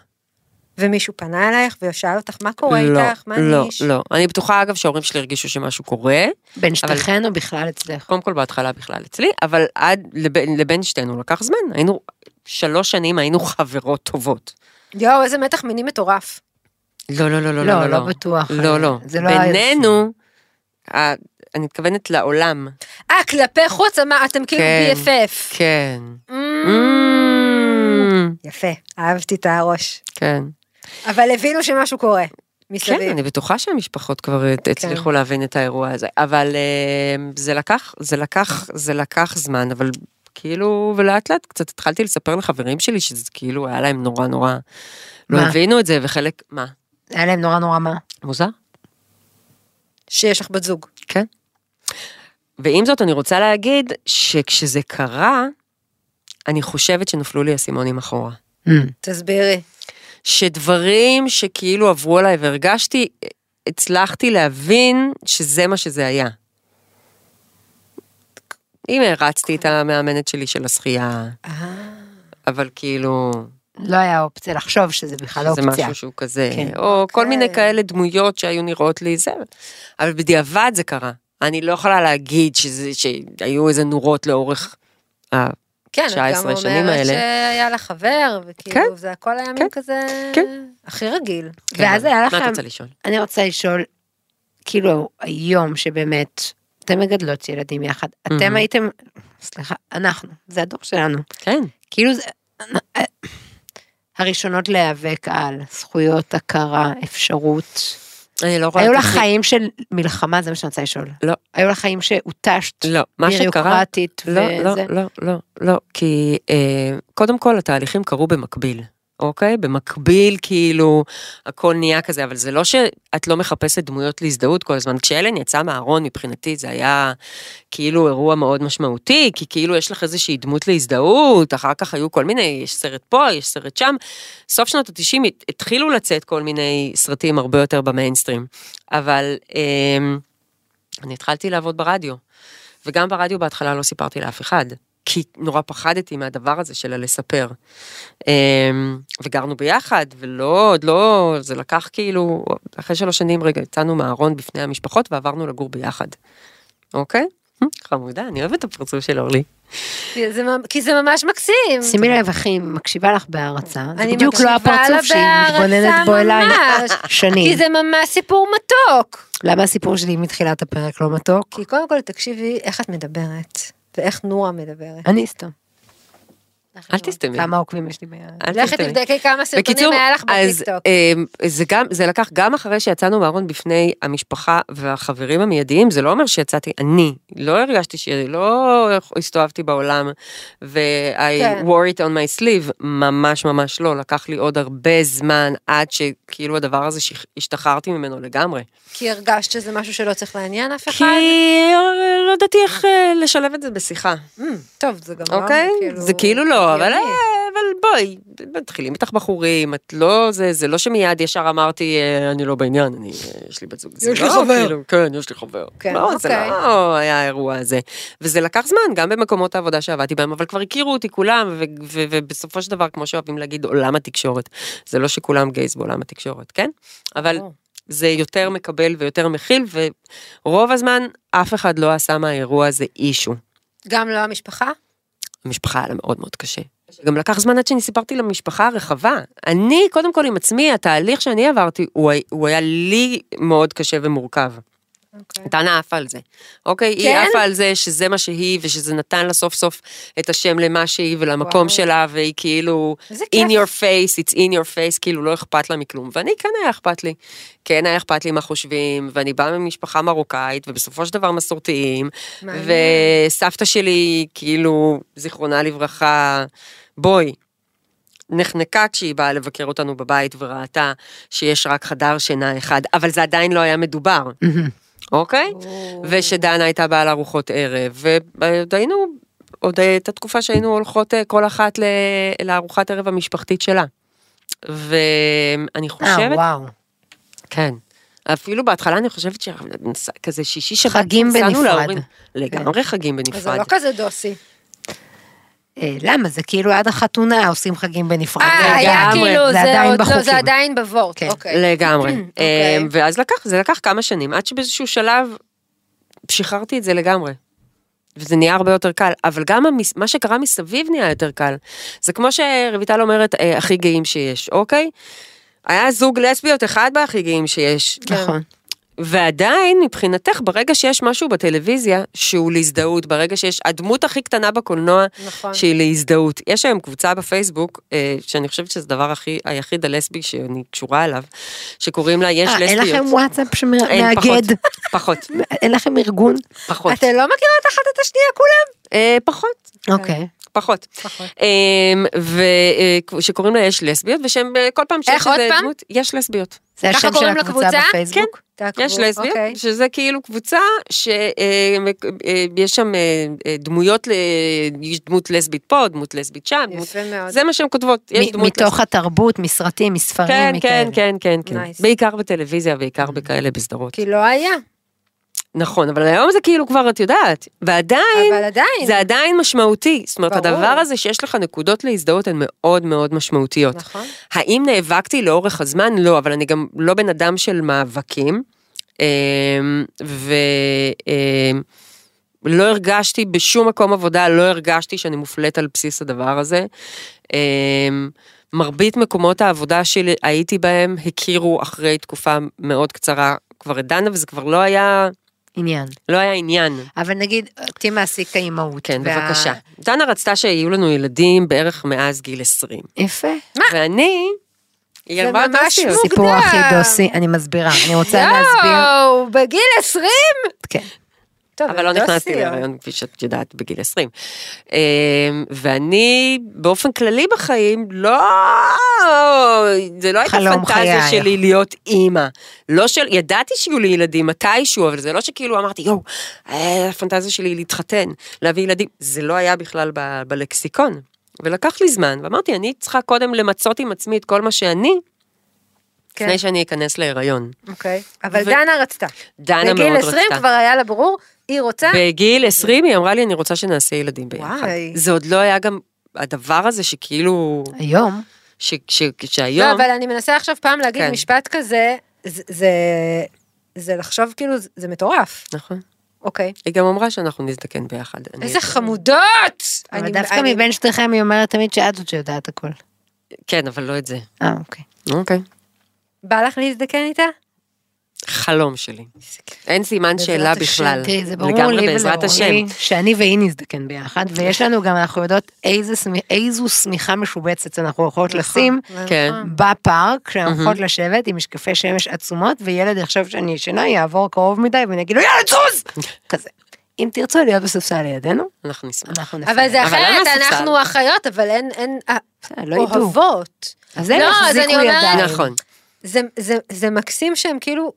ומישהו פנה אלייך ושאל אותך מה קורה
לא,
איתך, מה
לא,
ניש?
לא. אני בטוחה, אגב, שההורים שלי הרגישו שמשהו קורה,
בין
כן,
שתיכן או בכלל אצלך.
קודם כל בהתחלה בכלל אצלי, אבל עד לבין, לבין שתינו לקח זמן, היינו, שלוש שנים היינו חברות טובות.
יואו, איזה מתח מיני מטורף.
לא, לא, לא, לא,
לא,
לא,
לא בטוח.
לא, לא.
זה לא היה-
בינינו, ה- אני מתכוונת לעולם.
אה, כלפי חוץ, אמר- אתם כאילו
כן.
BFF.
כן.
Mm. יפה, אהבתי את הראש.
כן.
אבל הבינו שמשהו קורה מסביב.
כן, אני בטוחה שהמשפחות כבר הת- הצליחו להבין את האירוע הזה, אבל אה, זה לקח, זה לקח, זה לקח זמן, אבל כאילו, ולאט לאט קצת התחלתי לספר לחברים שלי שזה כאילו היה להם נורא נורא, לא
מה?
הבינו את זה, וחלק, מה?
היה להם נורא נורא מה.
מוזר?
שיש לך בת זוג.
כן. ועם זאת, אני רוצה להגיד שכשזה קרה, אני חושבת שנפלו לי אסימונים אחורה.
Mm.
תסבירי.
שדברים שכאילו עברו עליי והרגשתי, הצלחתי להבין שזה מה שזה היה. אם הרצתי את המאמנת שלי של השחייה,
אה.
אבל כאילו,
לא היה אופציה לחשוב שזה בכלל
זה
אופציה.
משהו שהוא כזה,
כן.
או כל מיני
אוקיי.
כאלה דמויות שהיו נראות לי זה, אבל בדיעבד זה קרה. אני לא יכולה להגיד שזה, שהיו איזה נורות לאורך ה...
כן, את גם
19 שנים
אומרת
האלה.
שהיה לך חבר, וכאילו
כן.
זה הכל היה
כן.
מין כזה...
כן.
הכי רגיל.
ואז היה לך...
מה את רוצה לשאול?
אני רוצה לשאול, כאילו היום שבאמת, אתם מגדלות ילדים יחד, אתם
מהמם.
הייתם, סליחה, אנחנו, זה הדור שלנו,
כן.
כאילו זה... הראשונות להיאבק על זכויות הכרה, אפשרות.
אני לא רואה...
היו
את
לך
עצמי-
חיים של מלחמה, זה מה שאני רוצה לשאול.
לא.
היו לך חיים שהותשת
לא, מה שקרה...
בירוקרטית
לא, לא,
וזה.
לא, לא, לא, כי אה, קודם כל התהליכים קרו במקביל, אוקיי? במקביל, כאילו, הכל נהיה כזה, אבל זה לא שאת לא מחפשת דמויות להזדהות כל הזמן. כשאלן יצא מהארון, מבחינתי זה היה כאילו אירוע מאוד משמעותי, כי כאילו יש לך איזושהי דמות להזדהות, אחר כך היו כל מיני, יש סרט פה, יש סרט שם. סוף שנות ה-90 התחילו לצאת כל מיני סרטים הרבה יותר במיינסטרים, אבל אה, אני התחלתי לעבוד ברדיו. וגם ברדיו בהתחלה לא סיפרתי לאף אחד. כי נורא פחדתי מהדבר הזה של הלספר. אמ, וגרנו ביחד, ולא, עוד לא, זה לקח כאילו, אחרי שלוש שנים רגע יצאנו מהארון בפני המשפחות ועברנו לגור ביחד. אוקיי? חמודה, אני אוהבת את הפרצוף של אורלי.
כי זה ממ- כי זה ממש מקסים.
שימי לב, אחי, מקשיבה לך בהערצה. זה
אני
בדיוק לא
מקשיבה לה
הפרצוף שהיא
בהערצה
מתבוננת בו אליי
ממש. כי
שנים.
זה ממש סיפור מתוק.
למה הסיפור שלי מתחילת הפרק לא מתוק?
כי קודם כל תקשיבי איך את מדברת, ואיך נורה מדברת.
אני סתם.
אל תסתמי.
כמה עוקבים יש לי ביד?
אל
לכי
תסתמי.
תבדקי כמה סרטונים
בקיצור,
היה לך
אז
בטיקטוק.
אה, זה גם, זה לקח גם אחרי שיצאנו מהארון בפני המשפחה והחברים המיידיים, זה לא אומר שיצאתי, אני לא הרגשתי שלא הסתובבתי בעולם ו-I
כן.
wore it on my sleeve, ממש ממש לא, לקח לי עוד הרבה זמן עד שכאילו הדבר הזה שהשתחררתי ממנו לגמרי.
כי הרגשת שזה משהו שלא צריך לעניין אף
כי
אחד.
אה, לא ידעתי איך אה, לשלב את זה בשיחה.
אמ, טוב, זה גם לא...
אוקיי? זה כאילו לא, אבל,
הגיוני.
אה, אבל בואי, מתחילים איתך בחורים, את לא, זה, זה לא שמיד ישר אמרתי, אה, אני לא בעניין, אני, אה, יש לי בת זוג. זה
יש לי
לא,
חבר.
כאילו, כן, יש לי חבר.
כן,
לא, זה
אוקיי.
לא היה האירוע הזה. וזה לקח זמן, גם במקומות העבודה שעבדתי בהם, אבל כבר הכירו אותי כולם, ו- ו- ובסופו של דבר, כמו שאוהבים להגיד, עולם התקשורת. זה לא שכולם גייז בעולם התקשורת, כן? אבל...
ברור.
זה יותר מקבל ויותר מכיל, ורוב הזמן אף אחד לא עשה מהאירוע הזה אישו.
גם לא המשפחה?
המשפחה היה לה מאוד מאוד קשה. גם לקח זמן עד שאני סיפרתי למשפחה הרחבה. אני, קודם כל עם עצמי, התהליך שאני עברתי, הוא, הי- הוא היה לי מאוד קשה ומורכב.
אוקיי.
דנה עפה על זה, אוקיי? היא
כן?
עפה על זה שזה מה שהיא, ושזה נתן לה סוף סוף את השם למה שהיא ולמקום
וואו.
שלה, והיא כאילו,
איזה
in
כיף.
your face, it's in your face, כאילו לא אכפת לה מכלום. ואני, כן היה אכפת לי. כן היה אכפת לי מה חושבים, ואני באה ממשפחה מרוקאית, ובסופו של דבר מסורתיים,
מעניין.
וסבתא שלי, כאילו, זיכרונה לברכה, בואי. נחנקה כשהיא באה לבקר אותנו בבית וראתה שיש רק חדר שינה אחד, אבל זה עדיין לא היה מדובר, אוקיי? ושדנה הייתה באה לארוחות ערב, ועוד היינו, עוד את התקופה שהיינו הולכות אה, כל אחת ל- לארוחת ערב המשפחתית שלה. ואני
אה,
חושבת,
וואו.
כן. אפילו בהתחלה אני חושבת שכזה שישי שבת,
חגים
נסענו
בנפרד.
להורים. לגמרי חגים
אז זה לא
בנפרד.
כזה דוסי.
אה, למה? זה כאילו עד החתונה עושים חגים בנפרד.
אה, היה
לגמרי,
כאילו,
זה
זה
עדיין
עוד לא, זה
בחוקים.
עדיין בוורט.
כן.
אוקיי. [clears throat]
לגמרי.
אוקיי.
אמ, ואז לקח, זה לקח כמה שנים, עד שבאיזשהו שלב שחררתי את זה לגמרי. וזה נהיה הרבה יותר קל, אבל גם המס... מה שקרה מסביב נהיה יותר קל. זה כמו שרויטל אומרת, אה, הכי גאים שיש, אוקיי? היה זוג לסביות אחד בהכי גאים שיש.
נכון.
ועדיין, מבחינתך, ברגע שיש משהו בטלוויזיה שהוא להזדהות, ברגע שיש הדמות הכי קטנה בקולנוע,
נכון.
שהיא להזדהות. יש היום קבוצה בפייסבוק, אה, שאני חושבת שזה הדבר הכי, היחיד הלסבי שאני קשורה אליו, שקוראים לה יש
אה, אין
לסביות.
לכם וואטסאפ
אין,
שמאגד?
פחות,
אין לכם ארגון?
פחות,
אתן לא מכירות אחת את השנייה כולם?
אה, פחות.
אוקיי.
פחות, אמ,
פחות.
ושקוראים לה יש לסביות, ושהם אה, כל פעם שיש
איך, עוד
איזה
פעם?
דמות, יש לסביות.
זה
ככה
השם של
קוראים כן,
הקבוצה
לקבוצה?
בפייסבוק?
תעקבו,
יש לסביות,
אוקיי.
okay. שזה כאילו קבוצה שיש שם אה, אה, דמויות, ל- יש דמות לסבית פה, דמות לסבית שם, דמות...
יפה מאוד.
זה מה שהן כותבות, יש
מ-
דמות
מתוך התרבות, מסרטים, מספרים,
כן, כן,
מכאלה.
כן, כן, כן.
Nice. Mm.
בעיקר בטלוויזיה, בעיקר בכאלה בסדרות.
כי לא היה,
נכון, אבל היום זה כאילו כבר, את יודעת, ועדיין,
אבל עדיין.
זה עדיין משמעותי. זאת אומרת,
ברור.
הדבר הזה שיש לך נקודות להזדהות הן מאוד מאוד משמעותיות.
נכון.
האם נאבקתי לאורך הזמן? לא, אבל אני גם לא בן אדם של מאבקים. אמ, ו... אמ, לא הרגשתי בשום מקום עבודה, לא הרגשתי שאני מופלית על בסיס הדבר הזה. אמ, מרבית מקומות העבודה שהייתי בהם הכירו אחרי תקופה מאוד קצרה כבר את דנה, וזה כבר לא היה,
כן.
עניין.
לא היה עניין.
אבל נגיד, אותי מעסיק האימהות.
כן,
וה-
בבקשה. דנה רצתה שיהיו לנו ילדים בערך מאז גיל 20.
יפה.
ואני, היא
זה
אמרה
ממש
"תעשי את זה".
מוגדר.
סיפור הכי דוסי, אני מסבירה, אני רוצה להסביר.
יואו, בגיל 20?
כן.
טוב,
אבל לא
זה
נכנסתי
סיום.
להיריון, כפי שאת יודעת, בגיל 20. אמ, ואני, באופן כללי בחיים, לא... זה לא הייתה
חלום
פנטזיה
חיי.
שלי להיות אימא. לא של... ידעתי שיהיו לי ילדים מתישהו, אבל זה לא שכאילו אמרתי, יואו, אה, הפנטזיה שלי היא להתחתן, להביא ילדים. זה לא היה בכלל ב- בלקסיקון. ולקח לי זמן, ואמרתי, אני צריכה קודם למצות עם עצמי את כל מה שאני,
כן.
לפני שאני אכנס להיריון.
אוקיי. אבל
ו-
דנה רצתה.
דנה מאוד
בגיל
רצתה.
20 כבר היה לה ברור, היא רוצה,
בגיל 20 היא אמרה לי, אני רוצה שנעשה ילדים ביחד.
וואי.
זה עוד לא היה גם הדבר הזה שכאילו,
היום?
ש- ש-
לא,
שהיום,
אבל אני מנסה עכשיו פעם להגיד
כן.
משפט כזה, זה- זה- זה לחשוב כאילו, זה- זה מטורף.
נכון.
אוקיי.
היא גם אמרה שאנחנו נזדקן ביחד. אני-
איזה חמודות!
אבל
אני-
דווקא
אני-
מבין שתיכם היא אומרת תמיד שאת זאת שיודעת הכל.
כן, אבל לא את זה.
אה, אוקיי.
אוקיי.
בא לך להזדקן איתה?
חלום שלי. אין סימן שאלה בכלל.
לא, תראי, כן, זה ברור
לגמרי,
לי
בעזרת השם.
ולאורלי שאני והיא נזדקן ביחד, ויש לנו גם, אנחנו יודעות איזה שמי- איזו שמיכה משובצת אנחנו הולכות לשים
כן.
אה. בפארק, כשאנחנו הולכות לשבת עם משקפי שמש עצומות, וילד יחשוב שאני ישנה, יעבור קרוב מדי, ואני אגיד לו, יאללה, תזוז! כזה. אם תרצו להיות בספסל לידינו,
אנחנו נשמח.
אנחנו נפרד.
אבל זה
אבל
אחרת,
למה ספסל?
אנחנו אחיות, אבל אין, אין, אה,
לא ידעו.
אוהבות.
אז הם
לא, אז
יחזיקו
אני אומרת-
ידיים.
נכון.
זה, זה, זה מקסים שהן כאילו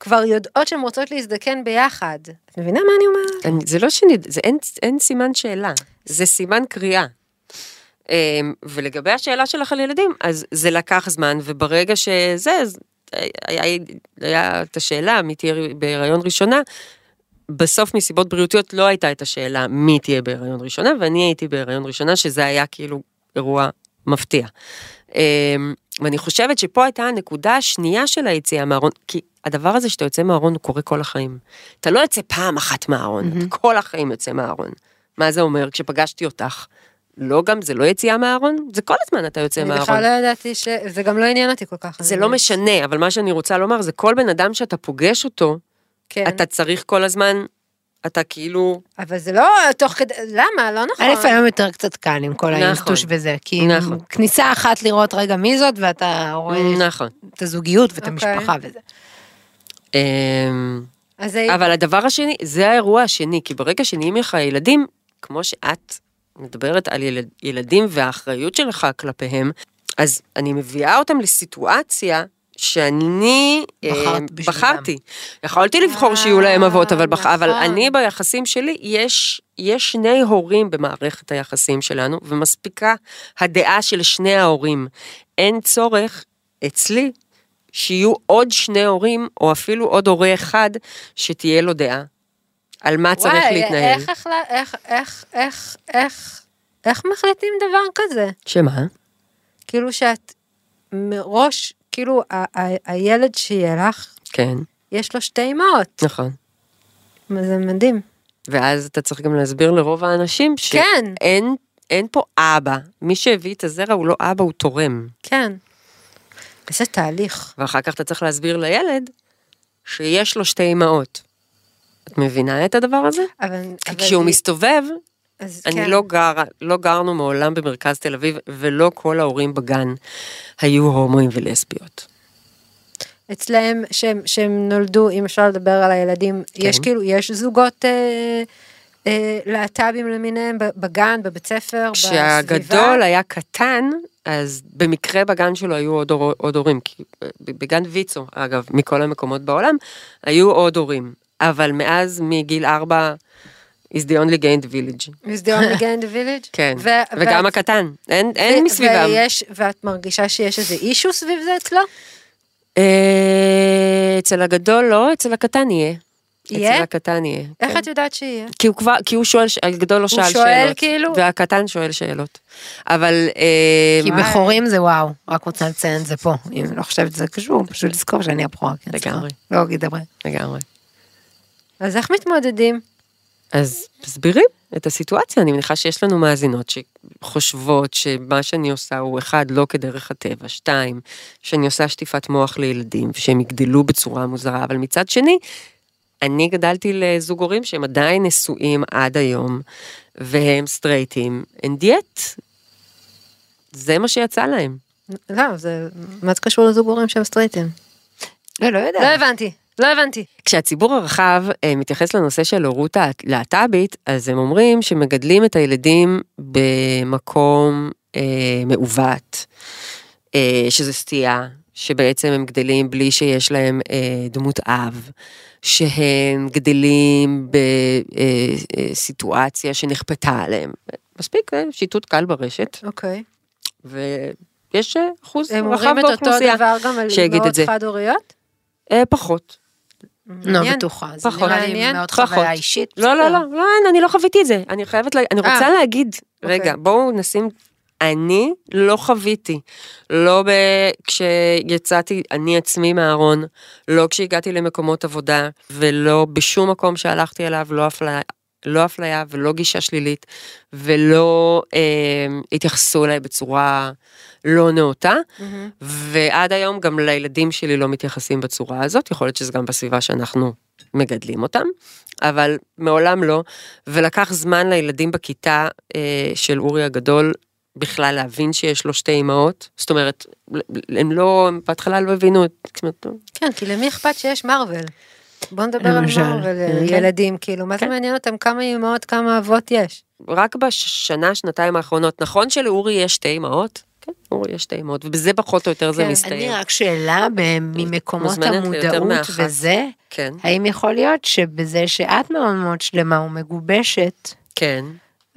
כבר יודעות שהן רוצות להזדקן ביחד. את מבינה מה אני אומרת?
אני- זה לא שאני, זה אין, אין סימן שאלה, זה סימן קריאה. אמ, ולגבי השאלה שלך על ילדים, אז זה לקח זמן, וברגע שזה, אז אה, היה, היה, היה את השאלה מי תהיה בהיריון ראשונה, בסוף מסיבות בריאותיות לא הייתה את השאלה מי תהיה בהיריון ראשונה, ואני הייתי בהיריון ראשונה, שזה היה כאילו אירוע מפתיע. אמ, ואני חושבת שפה הייתה הנקודה השנייה של היציאה מהארון, כי הדבר הזה שאתה יוצא מהארון הוא קורה כל החיים. אתה לא יוצא פעם אחת מהארון, אתה כל החיים יוצא מהארון. מה זה אומר? כשפגשתי אותך, לא גם, זה לא יציאה מהארון? זה כל הזמן אתה יוצא
אני
מהארון.
בכלל לא ידעתי ש... זה גם לא עניין אותי כל כך.
זה
אני-
לא משנה, אבל מה שאני רוצה לומר זה כל בן אדם שאתה פוגש אותו,
כן.
אתה צריך כל הזמן, אתה כאילו,
אבל זה לא תוך כדי... למה? לא נכון.
א', היום יותר קצת קל עם כל
נכון.
האינטוש וזה, כי
נכון.
כניסה אחת לראות רגע מי זאת, ואתה רואה
נכון.
את הזוגיות ואת
אוקיי.
המשפחה וזה.
אמ,
אז זה...
אבל הדבר השני, זה האירוע השני, כי ברגע שנהיים לך ילדים, כמו שאת מדברת על ילד, ילדים והאחריות שלך כלפיהם, אז אני מביאה אותם לסיטואציה שאני אה,
בחרת בשבילם.
בחרתי. יכולתי לבחור שיהיו להם אבות, אבל, בח... אבל
אה, נכון.
אני ביחסים שלי, יש, יש שני הורים במערכת היחסים שלנו, ומספיקה הדעה של שני ההורים. אין צורך אצלי שיהיו עוד שני הורים, או אפילו עוד הורה אחד, שתהיה לו דעה על מה צריך
וואי,
להתנהל.
איך, החלה- איך, איך, איך, איך, איך מחליטים דבר כזה?
שמה?
כאילו שאת מראש, כאילו ה- ה- הילד שיהיה לך,
כן,
יש לו שתי אמהות.
נכון.
זה מדהים.
ואז אתה צריך גם להסביר לרוב האנשים
כן.
שאין אין פה אבא. מי שהביא את הזרע הוא לא אבא, הוא תורם.
כן. איזה תהליך.
ואחר כך אתה צריך להסביר לילד שיש לו שתי אמהות. את מבינה את הדבר הזה?
אבל...
כי
אבל
כשהוא
זה-
מסתובב,
אז
אני
כן.
לא גרה, לא גרנו מעולם במרכז תל אביב, ולא כל ההורים בגן היו הומואים ולסביות.
אצלהם, שהם, שהם נולדו, אם אפשר לדבר על הילדים, כן. יש כאילו, יש זוגות אה, אה, להט"בים למיניהם ב- בגן, בבית ספר, בסביבה.
כשהגדול היה קטן, אז במקרה בגן שלו היו עוד, הור, עוד הורים, כי אה, בגן ויצו, אגב, מכל המקומות בעולם, היו עוד הורים. אבל מאז מגיל ארבע, is the only gained village. [laughs]
מסדרון מגנד וילג'.
כן, ו- וגם
ואת-
הקטן, אין, אין
ו-
מסביבם. כן.
ויש, ואת מרגישה שיש איזה אישו סביב זה אצלו?
אה, אצל הגדול לא, אצל הקטן יהיה.
יהיה?
אצל הקטן יהיה.
איך
כן.
את יודעת שיהיה?
כי הוא כבר, כי הוא שואל, ש- הגדול לא שאל שאלות.
שואל כאילו?
והקטן שואל שאלות. אבל... אה,
כי
מה-
בכורים זה וואו, רק רוצה לציין את זה פה. אם לא חושבת שזה קשור, פשוט לזכור שאני הבכורה. כן, סליחה.
לגמרי.
לא, אגיד דברי.
לגמרי.
אז איך מתמודדים?
אז מסבירים את הסיטואציה, אני מניחה שיש לנו מאזינות שחושבות שמה שאני עושה הוא אחד, לא כדרך הטבע, שתיים, שאני עושה שטיפת מוח לילדים, ושהם יגדלו בצורה מוזרה, אבל מצד שני, אני גדלתי לזוג הורים שהם עדיין נשואים עד היום, והם סטרייטים, and yet, זה מה שיצא להם.
לא, זה... מה זה קשור לזוג הורים שהם סטרייטים?
לא, לא
לא
יודעת.
הבנתי, לא הבנתי.
כשהציבור הרחב אה, מתייחס לנושא של הורות להט"בית, אז הם אומרים שמגדלים את הילדים במקום אה, מעוות, אה, שזה סטייה, שבעצם הם גדלים בלי שיש להם אה, דמות אב, שהם גדלים אה, בסיטואציה שנכפתה עליהם. מספיק, אה, שיטוט קל אה, ברשת,
אוקיי.
ו... יש אה, אחוז
הם
רחב
אומרים את אותו
באוכלוסייה.
דבר גם על
שיגיד את
אימהות
זה.
חד-הוריות?
אה, פחות.
לא בטוחה, זה
פחות.
נראה לי
מעניין.
מאוד
פחות.
חוויה אישית.
לא, לא, לא, לא, אין, אני לא חוויתי את זה. אני חייבת, לה, אני רוצה
אה,
להגיד, רגע,
אוקיי.
בואו נשים, אני לא חוויתי. לא ב... כשיצאתי אני עצמי מהארון, לא כשהגעתי למקומות עבודה, ולא בשום מקום שהלכתי אליו, לא אפליה. לא אפליה ולא גישה שלילית ולא אה, התייחסו אליי בצורה לא נאותה ועד היום גם לילדים שלי לא מתייחסים בצורה הזאת, יכול להיות שזה גם בסביבה שאנחנו מגדלים אותם, אבל מעולם לא, ולקח זמן לילדים בכיתה אה, של אורי הגדול בכלל להבין שיש לו שתי אימהות, זאת אומרת, הם לא, הם בהתחלה לא הבינו, את- זאת אומרת,
כן, כי למי אכפת שיש מרוויל? בוא נדבר על
למשל,
מרוויל,
כן.
ילדים, כאילו, מה זה
כן.
מעניין אותם כמה אימהות, כמה אבות יש?
רק בשנה, שנתיים האחרונות, נכון שלאורי יש שתי אימהות? כן, אורי יש שתי אימהות, ובזה פחות או יותר זה
כן, אני
אני
מסתיים.
רק שאלה ב- ממקומות
מוזמנת ליותר
המודעות
מאחת.
וזה,
כן,
האם יכול להיות שבזה שאת מאוד מאוד שלמה ומגובשת,
כן.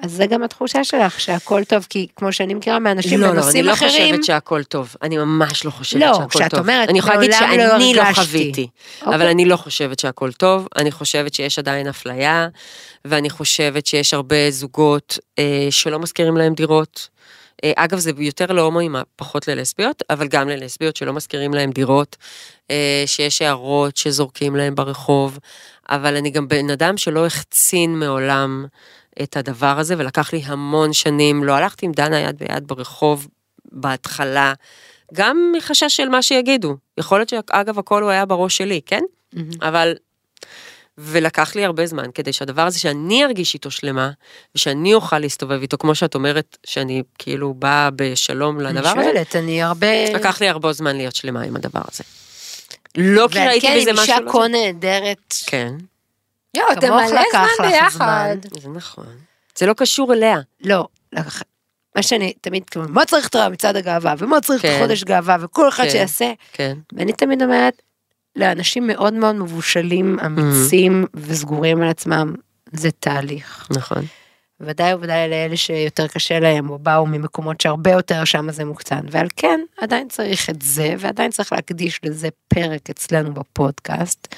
אז זה גם התחושה שלך שהכל טוב, כי כמו שאני מכירה מאנשים
לא, לא, אני
בנושאים
לא
אחרים,
חושבת שהכל טוב. אני ממש לא חושבת
לא,
שהכל טוב.
כשאת אומרת,
אני יכולה להגיד
מעולם לא
שאני לא
הרגשתי.
חוויתי,
אוקיי.
אבל אני לא חושבת שהכל טוב. אני חושבת שיש עדיין אפליה, ואני חושבת שיש הרבה זוגות אה, שלא משכירים להם דירות. אה, אגב, זה יותר להומואים, פחות ללסביות, אבל גם ללסביות שלא משכירים להם דירות, אה, שיש הערות שזורקים להם ברחוב, אבל אני גם בן אדם שלא החצין מעולם את הדבר הזה, ולקח לי המון שנים, לא הלכתי עם דנה יד ביד ברחוב בהתחלה, גם מחשש של מה שיגידו. יכול להיות שאגב, הכל הוא היה בראש שלי, כן? אבל... ולקח לי הרבה זמן כדי שהדבר הזה שאני ארגיש איתו שלמה, ושאני אוכל להסתובב איתו, כמו שאת אומרת, שאני כאילו באה בשלום לדבר
אני
הזה,
שואלת, אני הרבה...
לקח לי הרבה זמן להיות שלמה עם הדבר הזה. לא כי
ועל
ראיתי
כן,
בזה
עם
משהו...
אישה
לא-
כה נהדרת.
כן,
יואו, אתם
כמוך
מלא
לקח
זמן
לך
ביחד.
זמן.
זה נכון. זה לא קשור אליה.
לא, לקח- מה שאני תמיד, כאילו, מה צריך את מצעד הגאווה, ומה צריך את
כן.
חודש גאווה, וכל אחד
כן.
שיעשה,
כן.
ואני תמיד אומרת, לאנשים מאוד מאוד מבושלים,
Mhm.
אמיצים וסגורים על עצמם, זה תהליך.
נכון.
ודאי וודאי לאלה שיותר קשה להם, או באו ממקומות שהרבה יותר שם זה מוקצן. ועל כן, עדיין צריך את זה, ועדיין צריך להקדיש לזה פרק אצלנו בפודקאסט.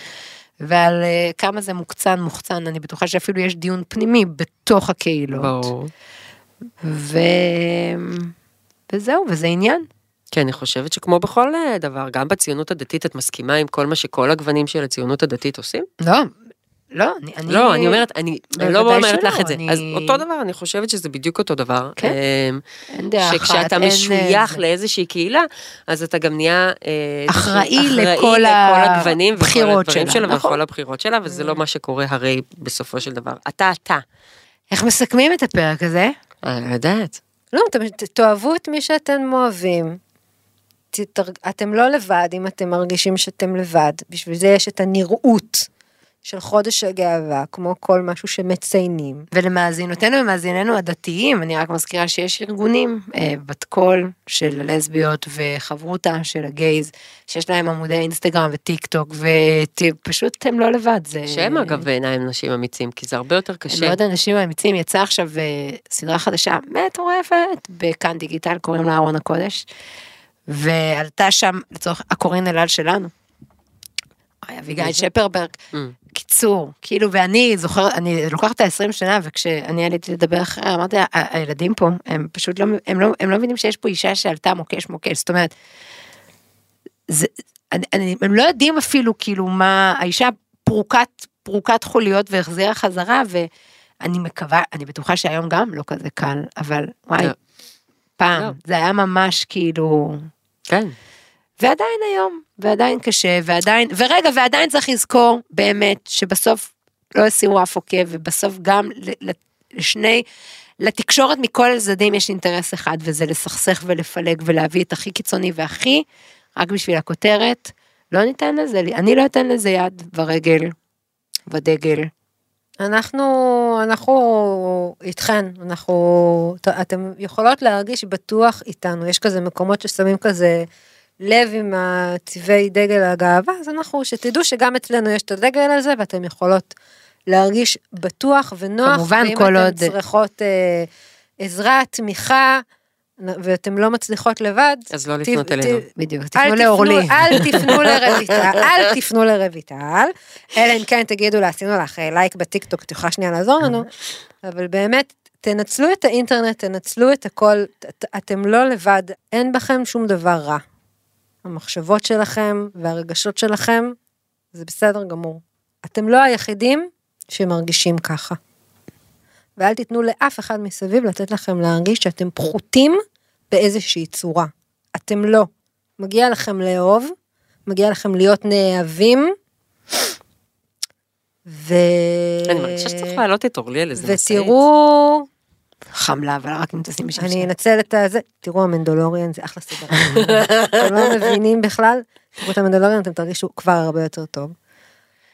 ועל אה, כמה זה מוקצן, מוחצן, אני בטוחה שאפילו יש דיון פנימי בתוך הקהילות.
ברור.
ו... וזהו, וזה עניין.
כי אני חושבת שכמו בכל אה, דבר, גם בציונות הדתית את מסכימה עם כל מה שכל הגוונים של הציונות הדתית עושים?
לא, לא, אני... אני...
לא, אני אומרת, אני אני לא
בוודאי
אומרת
שלא,
לך את זה.
אני-
אז אותו דבר, אני חושבת שזה בדיוק אותו דבר.
כן.
אמ,
אין דעה אחת.
שכשאתה
אין, אה,
משוייך
זה.
לאיזושהי קהילה, אז אתה גם נהיה אה,
אחראי
אחראי
לכל
לכל
ה-
הגוונים וכל
בחירות
הדברים
שלה,
שלה
נכון. אה.
וכל הבחירות שלה, וזה לא מה שקורה הרי בסופו של דבר. אתה אתה.
איך מסכמים את הפרק הזה?
אני יודעת.
לא, אתם ת- תאהבו את מי שאתם אוהבים. תתרג- אתם לא לבד אם אתם מרגישים שאתם לבד, בשביל זה יש את הנראות של חודש הגאווה, כמו כל משהו שמציינים.
ולמאזינותינו ומאזיננו הדתיים, אני רק מזכירה שיש ארגונים, אה, בת קול של הלסביות וחברותה של הגייז, שיש להם עמודי אינסטגרם וטיק טוק, ופשוט הם לא לבד. זה...
שהם אגב בעיניי הם נשים אמיצים, כי זה הרבה יותר
הם
קשה.
מאוד אנשים אמיצים, יצאה עכשיו אה, סדרה חדשה מטורפת בכאן דיגיטל, קוראים לה ארון הקודש, ועלתה שם לצורך הקורין אלעל שלנו. אוי, אביגיל שפרברג,
Mm.
קיצור, כאילו, ואני זוכרת, אני לוקחת את ה-20 שנה, וכשאני עליתי לדבר אחריה, אמרתי לה, "ה- הילדים פה, הם פשוט לא, הם לא, הם לא מבינים שיש פה אישה שעלתה מוקש מוקש, זאת אומרת, זה, אני, אני, הם לא יודעים אפילו, כאילו, מה, האישה פרוקת, פרוקת חוליות והחזירה חזרה, ואני מקווה, אני בטוחה שהיום גם לא כזה קל, אבל וואי,
לא.
פעם,
לא.
זה היה ממש כאילו,
כן.
ועדיין היום, ועדיין קשה, ועדיין, ורגע, ועדיין צריך לזכור באמת שבסוף לא יסירו אף עוקב, ובסוף גם ל- ל- לשני, לתקשורת מכל הצדדים יש אינטרס אחד, וזה לסכסך ולפלג ולהביא את הכי קיצוני והכי, רק בשביל הכותרת, לא ניתן לזה, אני לא אתן לזה יד ורגל ודגל.
אנחנו, אנחנו איתכן, אנחנו, ת- אתם יכולות להרגיש בטוח איתנו, יש כזה מקומות ששמים כזה לב עם הצבעי דגל הגאווה, אז אנחנו, שתדעו שגם אצלנו יש את הדגל הזה ואתם יכולות להרגיש בטוח ונוח,
כמובן,
ואם
כל
אתם
עוד-
צריכות אה, עזרה, תמיכה, ואתם לא מצליחות לבד,
אז לא
ת-
לפנות
ת-
אלינו.
בדיוק,
אל
תפנו לאורלי.
אל תפנו לרויטל, אל תפנו לרויטל, אלא אם כן תגידו לה, עשינו לך אה, לייק בטיקטוק, את יכולה שנייה לעזור לנו, אבל באמת, תנצלו את האינטרנט, תנצלו את הכל, ת- ת- אתם לא לבד, אין בכם שום דבר רע. המחשבות שלכם והרגשות שלכם, זה בסדר גמור. אתם לא היחידים שמרגישים ככה. ואל תיתנו לאף אחד מסביב לתת לכם להרגיש שאתם פחותים באיזושהי צורה. אתם לא. מגיע לכם לאהוב, מגיע לכם להיות נאהבים, ו...
אני מרגישה שצריך להעלות את אורלי על איזה משאית.
ותראו,
חמלה, אבל רק אם תשים בשם
אני אנצל את הזה, תראו המנדולוריאן זה אחלה סדרה, אתם לא מבינים בכלל, תראו את המנדולוריאן אתם תרגישו כבר הרבה יותר טוב.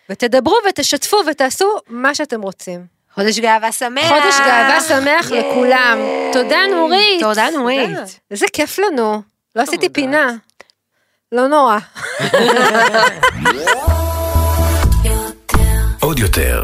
ותדברו ותשתפו ותעשו מה שאתם רוצים.
חודש גאווה שמח.
חודש גאווה שמח
ייי.
לכולם. תודה נורית.
תודה נורית. Oh
איזה כיף לנו, לא עשיתי פינה. לא נורא.
עוד יותר,